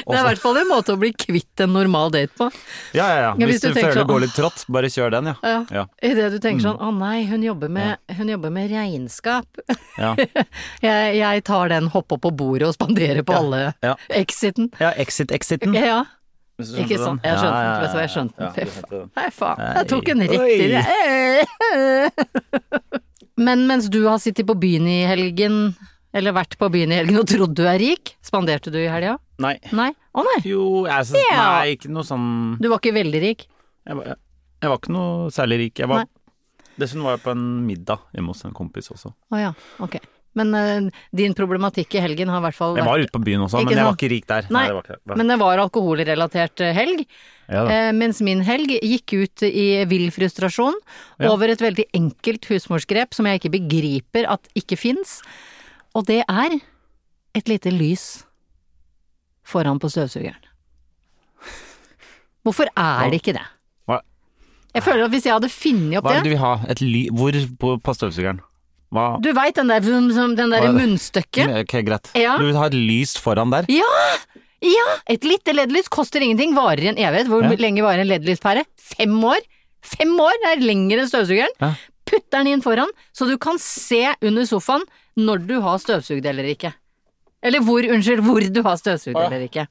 Det er i hvert fall en måte å bli kvitt en normal date på.
Ja, ja, ja.
Ja,
Hvis
hvis
du,
du tenker
føler det
sånn,
går litt trått, bare kjør den, ja. Mm.
Ja.
Ja.
Idet du tenker sånn 'Å nei, hun jobber med, hun jobber med regnskap'.
Ja.
jeg, jeg tar den, hopper på bordet og spanderer på alle
ja. Mm.
exiten.
Ja, exit-exiten.
Ja, ja.
Hvis du skjønte
Ikke sånn.
den.
Jeg skjønte
Ja,
den.
ja, ja,
Vet du hva, jeg skjønte
ja,
den. Fy
du skjønte
faen.
den.
Nei, faen. Jeg tok en
Nei.
rett i det. Men mens du har sittet på byen i helgen, eller vært på byen i helgen og trodd du er rik, spanderte du i helga?
Nei.
Nei? Å nei,
Jo, jeg syns
Ja.
Nei, ikke noe sånn
du var ikke veldig rik.
jeg var, jeg var ikke noe særlig rik. Jeg var Dessuten var jeg på en middag hjemme hos en kompis også.
Å ja, ok. Men eh, din problematikk i helgen har i hvert fall
Jeg var ute på byen også, men jeg var
sant?
ikke rik der.
Nei,
det var ikke det.
men det var alkoholrelatert eh, helg.
Ja da.
eh, mens min helg gikk ut i vill frustrasjon
Ja.
over et veldig enkelt husmorsgrep som jeg ikke begriper at ikke fins. Og det er et lite lys foran på støvsugeren. Hvorfor er det ikke det?
Hva-
Jeg føler at hvis jeg hadde funnet opp
Hva er det du
det
vil ha? Et ly... Hvor på, på støvsugeren? Hva?
Du veit den der, vum, som- den der
Hva er det?
munnstykket?
Ok, greit.
Ja.
Du vil ha et lys foran der?
Ja! Ja! Et lite LED-lys koster ingenting, varer i en evighet. Hvor
Ja.
lenge varer en LED-lyspære? Fem år! Fem år! Det er lenger enn støvsugeren.
Ja.
Putt den inn foran, så du kan se under sofaen når du har støvsugd eller ikke. Eller hvor, unnskyld, hvor du har støvsugd
Å, ja.
eller ikke.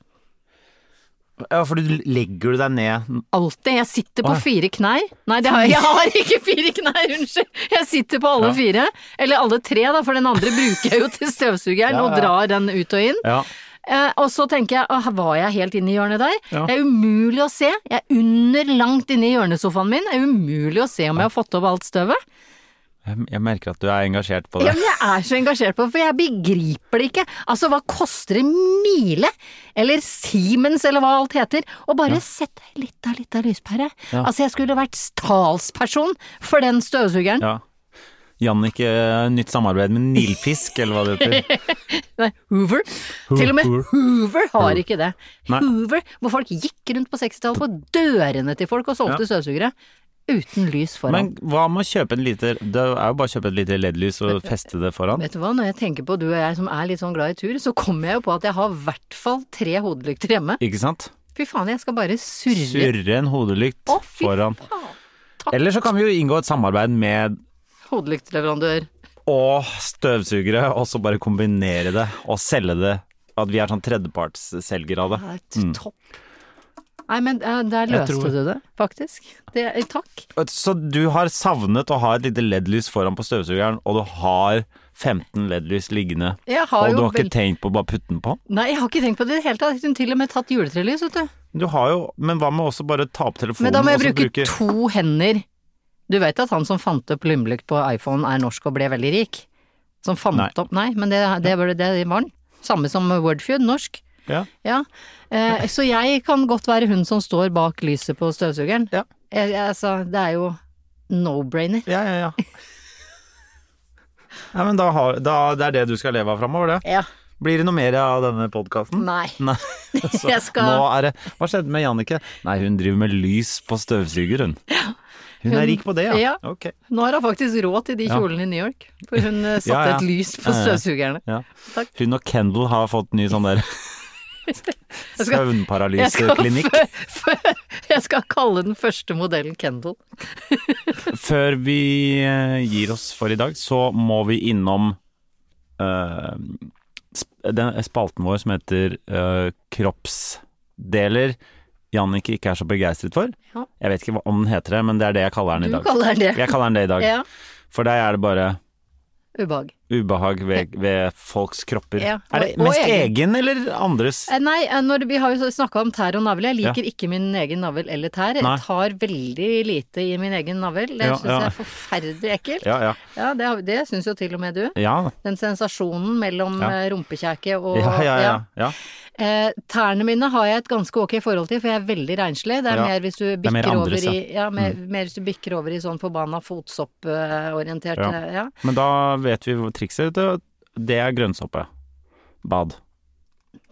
Ja, for du legger du deg ned
Alltid. Jeg sitter på
Å, ja.
fire knær. Nei, det har, jeg har ikke fire knær, unnskyld! Jeg sitter på alle
Ja.
fire. Eller alle tre, da, for den andre bruker jeg jo til støvsugeren
Ja,
og
ja.
drar den ut og inn.
Ja.
Eh, og så tenker jeg, «Åh, var jeg helt inne i hjørnet der?
Ja.
Det er umulig å se. Jeg er under langt inne i hjørnesofaen min. Det er umulig å se om jeg har fått opp alt støvet.
Jeg, jeg merker at du er engasjert på
Ja,
det.
men jeg er så engasjert på det, for jeg begriper det ikke. Altså, hva koster en mile? Eller Siemens, eller hva alt heter? Og bare sett litt av litt av lyspære.
Ja.
Altså, jeg skulle vært talsperson for den støvsugeren.
Ja. Jannicke, nytt samarbeid med Nilfisk, eller hva det heter.
Nei, Hoover. Til og med Hoover har ikke det.
Nei.
Hoover, hvor folk gikk rundt på 60-tallet på dørene til folk og solgte støvsugere uten lys foran.
Men hva med å kjøpe en lite Det er jo bare å kjøpe et lite LED-lys og feste det foran.
Vet du hva, når jeg tenker på du og jeg som er litt sånn glad i tur, så kommer jeg jo på at jeg har i hvert fall tre hodelykter hjemme.
Ikke sant?
Fy faen, jeg skal bare surre.
Surre en hodelykt
Å, fy
foran.
faen.
Eller så kan vi jo inngå et samarbeid med
Hodelyktleverandør.
og støvsugere, og så bare kombinere det og selge det. At vi er sånn tredjepartsselger av det.
Det er t- topp. Nei, men eh, der
Mm. Jeg
løste
tror-
du det, faktisk. Det, eh, takk.
Så du har savnet å ha et lite LED-lys foran på støvsugeren, og du har 15 LED-lys liggende.
Jeg har
og
jo
du har
vel-
ikke tenkt på å bare putte den på?
Nei, jeg har ikke tenkt på det i det hele tatt. Jeg kunne til og med tatt juletrelys, vet du.
Du har jo, men hva med også bare ta opp telefonen
Men da må jeg
og så
bruke, to hender. Du vet at han som fant opp lommelykt på iPhone er norsk og ble veldig rik? Som fant
Nei.
opp Nei, men det, det, var- det var han. Samme som Wordfeud, norsk.
Ja.
Ja. Eh, så jeg kan godt være hun som står bak lyset på støvsugeren.
Ja.
Jeg, jeg, altså, det er jo no-brainer.
Ja, ja, ja. Nei, men da har, da, det er det du skal leve av framover, det.
Ja.
Blir det noe mer av denne podkasten?
Nei.
Nei. Så
Jeg skal-
Nå er det Hva skjedde med Jannicke? Nei, hun driver med lys på støvsuger, hun. Hun
Hun-
er rik på det, ja.
ja.
Ok.
Nå har hun faktisk råd til de
Ja.
kjolene i New York, for hun eh, satte
Ja, ja.
et lys på
Ja, ja.
støvsugerne.
Ja.
Takk.
Hun og Kendal har fått ny sånn der
skal- Jeg skal,
søvnparalyseklinikk.
jeg skal kalle den første modellen Kendal.
Før vi eh, gir oss for i dag, så må vi innom eh, sp- den spalten vår som heter eh, Kroppsdeler Jannicke ikke er så begeistret for.
Ja.
Jeg vet ikke hva- om den heter det, men det er det jeg kaller den
Du
i dag.
kaller den det.
Jeg kaller den det i dag.
Ja.
For deg er det bare
Ubehag.
ubehag ved, ved folks kropper.
Ja,
Er det
og- og
mest
egen.
egen eller andres?
Eh, Nei, eh, når vi har jo snakka om tær og navle. Jeg liker ikke min egen navl eller tær.
Nei.
Jeg tar veldig lite i min egen navl. Det
Ja,
syns
ja.
jeg er forferdelig ekkelt. Ja,
Ja, ja.
det, har- det syns jo til og med du.
Ja,
Den sensasjonen mellom
Ja.
eh, rumpekjeke og
ja, ja. ja, ja.
Eh, tærne mine har jeg et ganske ok forhold til, for jeg er veldig renslig. Det er
Ja.
mer hvis du
er
bikker
mer Mm. andres,
over i ja, mer, mer hvis du bikker over i sånn forbanna fotsopporientert
Ja.
ja. ja.
Men da vet vi hvor trikset er. Det er grønnsoppe. Bad.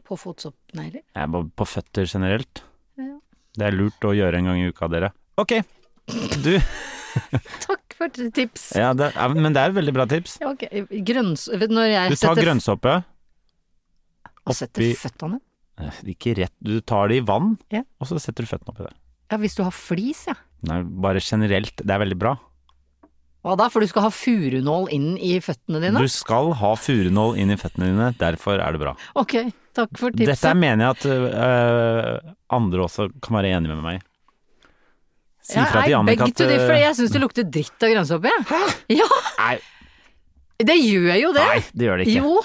På fotsoppnegler.
Jeg er bare på føtter generelt.
Ja.
Det er lurt å gjøre en gang i uka, dere. Ok, du
Takk for tips.
ja, det er, Men det er et veldig bra tips.
Ja, ok. Grønns... vet du, Når jeg
Du tar
setter,
grønnsoppe
og setter
oppi-
føttene
eh, Ikke rett, du tar det i vann,
Ja.
og så setter du føttene oppi der.
Ja, hvis du har flis, ja.
Nei, bare generelt. Det er veldig bra.
Hva da? For du skal ha furunål inn i føttene dine?
Du skal ha furunål inn i føttene dine, derfor er det bra.
Ok, takk for tipset.
Dette er mener jeg at øh, andre også kan være enig med meg i. Si fra til Jannik
at
at
det, for
øh,
Jeg syns det lukter dritt av grønnsoppe, jeg. Ja.
eh, nei,
Det gjør jo det.
nei, det gjør det ikke.
Jo.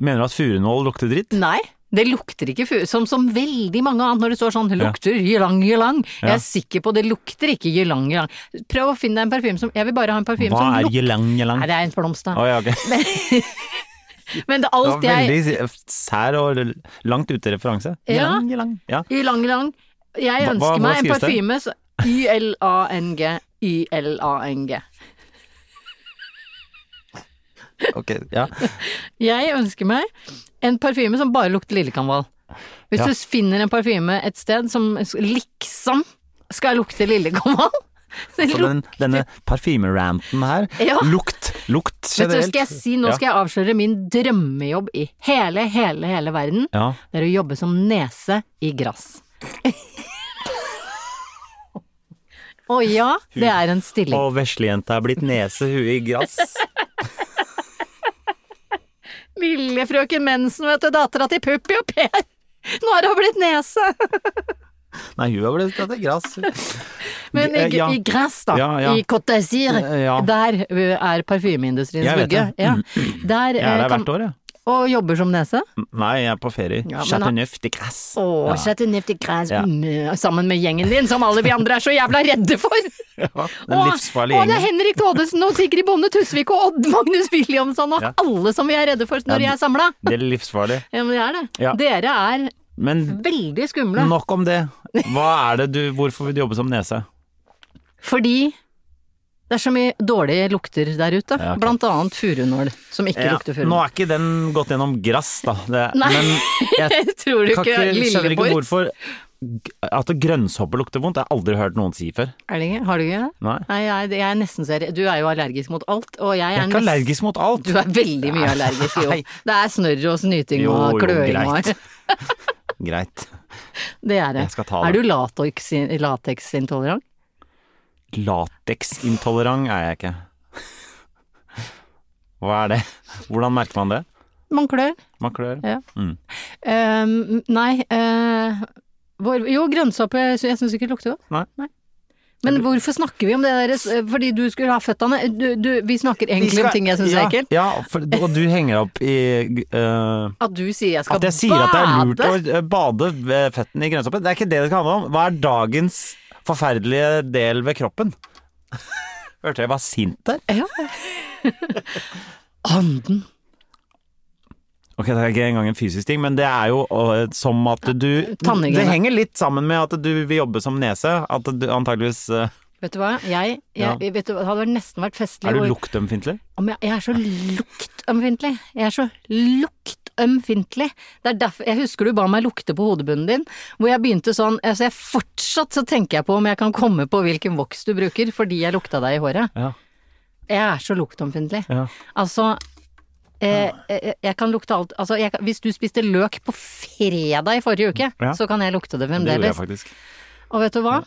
Mener du at furunål lukter dritt?
Nei. Det lukter ikke furu, som, som veldig mange annet når det står sånn 'lukter ylang ylang'. Jeg
Ja.
er sikker på det lukter ikke ylang ylang. Prøv å finne deg en parfyme som Jeg vil bare ha en parfyme
Hva
som
er
lukter
jelang jelang?
Nei, det er en blomst, da.
Å ja, ok.
Men det,
Det var
alt jeg
veldig sær og langt ute referanse.
Ja.
Jelang, jelang. Ja.
Ylang ylang. Jeg
Hva-
ønsker
hva-
meg
hva
en
skrives det?
parfyme som Y-L-A-N-G. Y-L-A-N-G.
Ok, ja.
Jeg ønsker meg en parfyme som bare lukter lillekanval. Hvis
Ja.
du finner en parfyme et sted som liksom skal lukte lillekanval det
Så
luk-
den, denne parfymeranten her,
Ja.
lukt, lukt
Vet du,
generelt.
skal jeg si, nå
Ja.
skal jeg avsløre min drømmejobb i hele, hele, hele verden.
Ja.
Det er å jobbe som nese i grass. Å ja, det er en stilling.
Og veslejenta er blitt nese, hue i grass.
Lille frøken Mensen, vet du, dattera til Puppi og Per. Nå har hun blitt nese.
Nei, hun har blitt nese i grass.
Men i,
Eh, ja.
i gress, da.
Ja, ja.
I Côte d'Azur.
Eh, ja.
Der ø, er parfymeindustriens
Jeg vet
vugge.
det. Mm,
Ja. Der,
Jeg er
eh,
der
kan,
hvert år, jeg.
og jobber som nese.
Nei, jeg er på ferie.
Ja, men
Chateauneuf de grass.
Å,
Ja.
Chateauneuf de Grâce,
Ja.
mm, sammen med gjengen din, som alle vi andre er så jævla redde for!
Den
Å,
livsfarlige
å, det er
gjengen.
Henrik Thodesen og Sigrid Bonde Tusvik og Odd Magnus Williamson og
Ja.
alle som vi er redde for når de
Ja,
er samla!
Det er livsfarlig.
Ja, men det er det.
Ja.
Dere er
Men
veldig skumle.
nok om det. Hva er det du Hvorfor vil du jobbe som nese?
Fordi det er så mye dårlige lukter der ute.
Ja, ok.
Blant annet furunål, som ikke lukter
Nå
furunål.
er ikke den gått gjennom grass, da. Det,
Nei.
Men jeg
Tror du
kan
ikke
ikke, skjønner ikke
Lilleborg
hvorfor g- at grønnsåpe lukter vondt. Jeg har aldri hørt noen si før.
Er det ikke? Har du ikke det?
Nei.
Nei, jeg, jeg er nesten seriøs. Du er jo allergisk mot alt, og jeg er
Jeg er ikke
nesten-
allergisk mot alt.
Du er veldig mye allergisk, jo.
Nei.
Det er snørr og snyting
Jo,
og
jo,
kløing og
greit. Greit.
Det er det.
Jeg skal ta
Er
det.
du latex- lateksintolerant?
Lateksintolerant er jeg ikke. Hva er det? Hvordan merker man det?
Man klør.
Man klør.
Ja.
Mm.
Ehm, nei eh, hvor, Jo, grønnsåpe så jeg syns ikke det lukter godt.
Nei.
Men hvorfor snakker vi om det der eh, fordi du skulle ha føttene du, du, Vi snakker egentlig om ting jeg syns
ja,
er ekkelt.
Ja, for, og du henger opp i eh,
At du sier jeg skal
At jeg sier
bade!
at det er lurt å eh, bade ved fettene i grønnsåpe. Det er ikke det det skal handle om. Hva er dagens forferdelige del ved kroppen? Hørte jeg var sint der?
Ja. Anden.
Ok, det er ikke engang en fysisk ting, men det er jo eh, som at du
Tannhygiene.
Det henger litt sammen med at du vil jobbe som nese. At du antageligvis eh,
Vet du hva, jeg, jeg
Ja.
vet du, hva, Det hadde vært nesten vært festlig.
Er du
hvor-
luktemfintlig?
Om jeg, jeg er så luktømfintlig. Jeg er så luktømfintlig. Det er derfor Jeg husker du ba meg lukte på hodebunnen din, hvor jeg begynte sånn Altså, jeg fortsatt så tenker jeg på om jeg kan komme på hvilken voks du bruker, fordi jeg lukta deg i håret.
Ja.
Jeg er så luktomfintlig.
Ja.
Altså eh, eh, jeg kan lukte alt Altså, jeg, kan- hvis du spiste løk på fredag i forrige uke,
Ja.
så kan jeg lukte det
Det gjorde
fremdeles.
jeg faktisk.
Og vet du hva?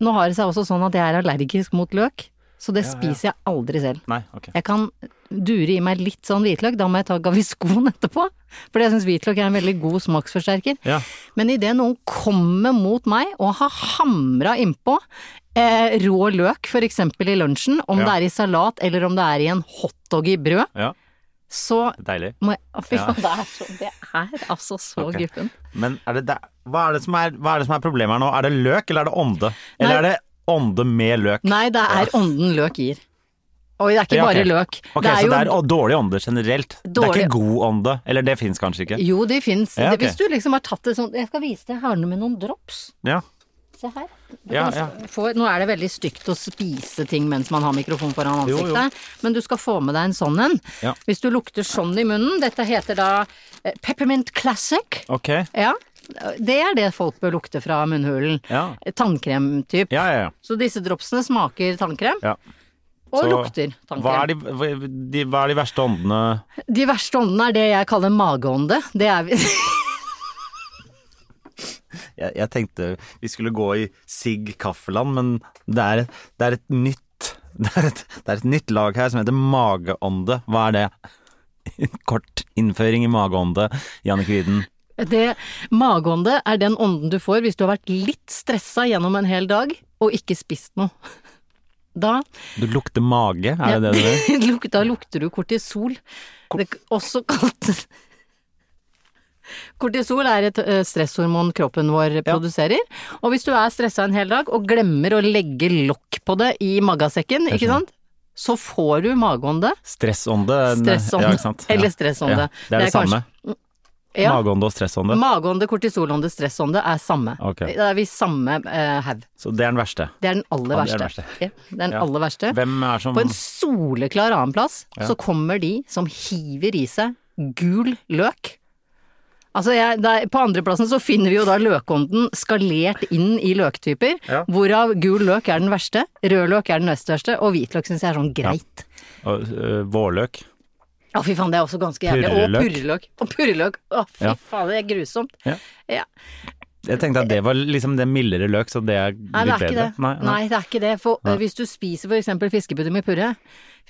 Nå har det seg også sånn at jeg er allergisk mot løk, så det spiser jeg aldri selv.
Nei, ok.
Jeg kan dure i meg litt sånn hvitløk, da må jeg ta gaviskon etterpå. Fordi jeg syns hvitløk er en veldig god smaksforsterker.
Ja.
Men idet noen kommer mot meg og har hamra innpå eh, rå løk, f.eks. i lunsjen, om
Ja.
det er i salat eller om det er i en hotdog i brød,
Ja,
så
deilig.
må jeg Å, Fy
Ja.
faen, det er så Det er altså så
Ok.
guffen.
Men er det der, hva, er det som er, hva er det som er problemet her nå? Er det løk, eller er det ånde? Eller
Nei.
er det ånde med løk?
Nei, det er ånden løk gir. Og det er ikke
Ja, ok.
bare løk.
Ok,
det er
så
jo
det er å, dårlig ånde generelt. Det er
Dårlig-
ikke god ånde. Eller det fins kanskje ikke.
Jo, de fins.
Ja, ok.
Hvis du liksom har tatt det sånn Jeg skal vise deg, jeg har noe med noen drops.
Ja.
Se her. Du
Ja,
kan
ja.
Få, nå er det veldig stygt å spise ting mens man har mikrofon foran
Jo,
ansiktet, men du skal få med deg en sånn en.
Ja.
Hvis du lukter sånn i munnen, dette heter da eh, peppermint classic.
Ok.
Ja, det er det folk bør lukte fra munnhulen.
Ja.
Tannkremtyp.
Ja, ja, ja.
Så disse dropsene smaker tannkrem,
ja.
og
Så
lukter tannkrem.
Hva er de, hva- de, hva er de verste åndene
De verste åndene er det jeg kaller mageånde. Det er vi
jeg, jeg tenkte vi skulle gå i sigg kaffeland, men det er, det er et nytt det er et, det er et nytt lag her som heter mageånde. Hva er det? En Kort innføring i mageånde, Jannicke Widen.
Det mageånde er den ånden du får hvis du har vært litt stressa gjennom en hel dag og ikke spist noe. Da
Du lukter mage, er det det du gjør?
luk- da lukter du kortisol. Det, også kalt Kortisol er et ø, stresshormon kroppen vår produserer. Og hvis du er stressa en hel dag og glemmer å legge lokk på det i magasekken, ikke sant, så får du mageånde.
Stressånde.
Stressånde.
Ja, ikke sant?
Eller
Ja.
stressånde.
Ja, det er det,
Det er
samme.
Ja.
Mageånde og stressånde.
Mageånde, kortisolånde, stressånde er samme.
Ok.
Da er vi samme eh, haug.
Så det er den verste.
Det er den aller
Ja, det er
verste.
den verste.
Ja, det er den
Ja.
aller verste.
Hvem er som
På en soleklar annenplass så kommer de som hiver i seg gul løk. Altså jeg, der, på andreplassen så finner vi jo da løkånden skalert inn i løktyper,
Ja.
hvorav gul løk er den verste, rød løk er den nest verste, og hvitløk syns jeg er sånn greit. Å
Og, øh, Vårløk.
fy faen, det er også ganske jævlig. Og
Purreløk.
purreløk. Og purreløk. Å fy
Ja.
faen, det er grusomt.
Ja.
Ja.
Jeg tenkte at det var liksom det mildere løk, så det er litt
Nei, det er ikke
bedre.
det. Nei, det er ikke det. For eh, hvis du spiser for eksempel fiskepudding med purre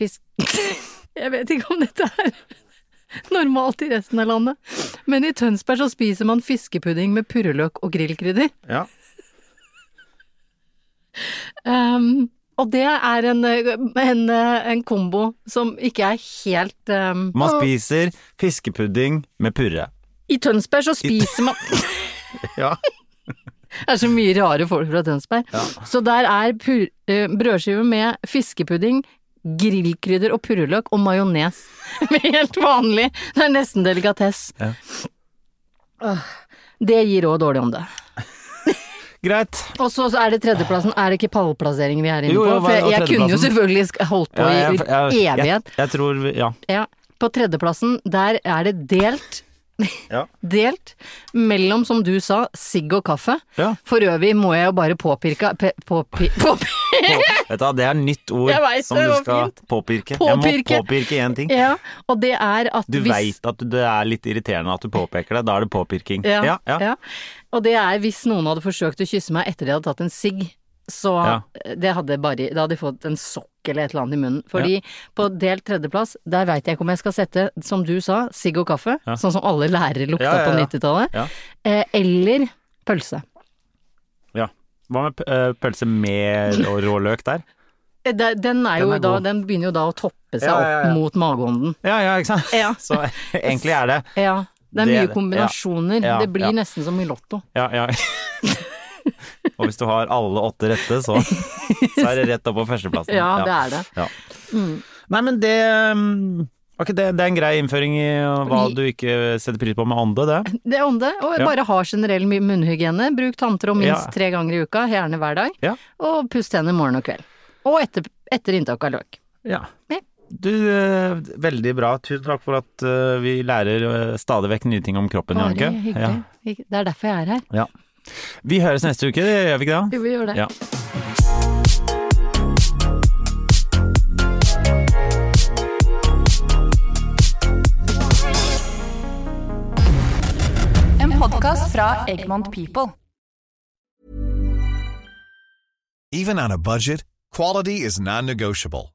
fisk... Jeg vet ikke om dette er normalt i resten av landet, men i Tønsberg så spiser man fiskepudding med purreløk og grillkrydder.
Ja.
Ehm, og det er en, eh, en, eh, en kombo som ikke er helt ehm,
Man spiser fiskepudding med purre.
I Tønsberg så spiser man
Ja.
Det er så mye rare folk fra Tønsberg. Så der er pur, eh, brødskive med fiskepudding, grillkrydder og purreløk og majones. Helt vanlig. Det er nesten delikatess.
Ja.
Åh, Det gir òg dårlig ånde.
Greit.
Og så så er det tredjeplassen. Er det ikke pallplassering vi er inne
Jo,
på?
jo, hva-
For jeg,
og
jeg kunne jo
tredjeplassen?
selvfølgelig sk- holdt på
Ja, jeg-
i
jeg-
evighet.
Jeg, jeg tror vi, Ja.
Ja. På tredjeplassen, der er det delt.
Ja.
Delt mellom, som du sa, sigg og kaffe.
Ja.
For øvrig må jeg jo bare påpirke pe, påpi, påpi,
På, vet du, hva, det er nytt ord
Jeg vet
som
det,
du
det var
skal
fint.
påpirke. Jeg
Påpirke.
må påpirke én ting.
Ja, og det er at
Du
hvis
veit at du- det er litt irriterende at du påpeker det. Da er det påpirking.
ja,
ja. ja.
ja. Og det er hvis noen hadde forsøkt å kysse meg etter de hadde tatt en sigg, så
Ja.
det hadde bare Da hadde de fått en sokk eller et eller annet i munnen. Fordi på delt tredjeplass, der veit jeg ikke om jeg skal sette, som du sa, sigg og kaffe, sånn som alle lærere lukta
Ja, ja, ja.
på 90-tallet,
Ja.
eh, eller pølse.
Ja. Hva med p- øh, pølse med rå rå løk der?
Eh, det- Den, er jo
er
da,
god.
den begynner jo da å toppe seg
Ja, ja, ja.
opp mot mageånden.
Ja, ja, ikke sant?
Ja.
Så egentlig er det
Ja. Det er
Det
mye
er det.
kombinasjoner.
Ja, ja,
Det blir
ja.
nesten som i Lotto.
Ja, ja. Og hvis du har alle åtte rette, så, så er det rett opp på førsteplassen.
Ja, det er det.
Ja. Nei, men det mm, var ikke det, det er en grei innføring i hva
Vi-
du ikke setter pris på med ånde, det.
Det er ånde, og
Ja.
bare ha generell my- munnhygiene. Bruk tanntråd minst
Ja.
tre ganger i uka, gjerne hver dag.
Ja.
Og puss tenner morgen og kveld. Og etter, etter inntak av løk.
Ja.
Ja.
Du, eh, veldig bra. Tusen takk for at eh, vi lærer eh, stadig vekk nye ting om kroppen,
Bare
Jannicke.
hyggelig.
Ja.
Ikke- Det er derfor jeg er her.
Ja. Vi høres neste uke, gjør vi ikke det?
Jo, vi gjør det.
Ja.
En podkast fra Egmont People.
Even on a budget, quality is non-negotiable.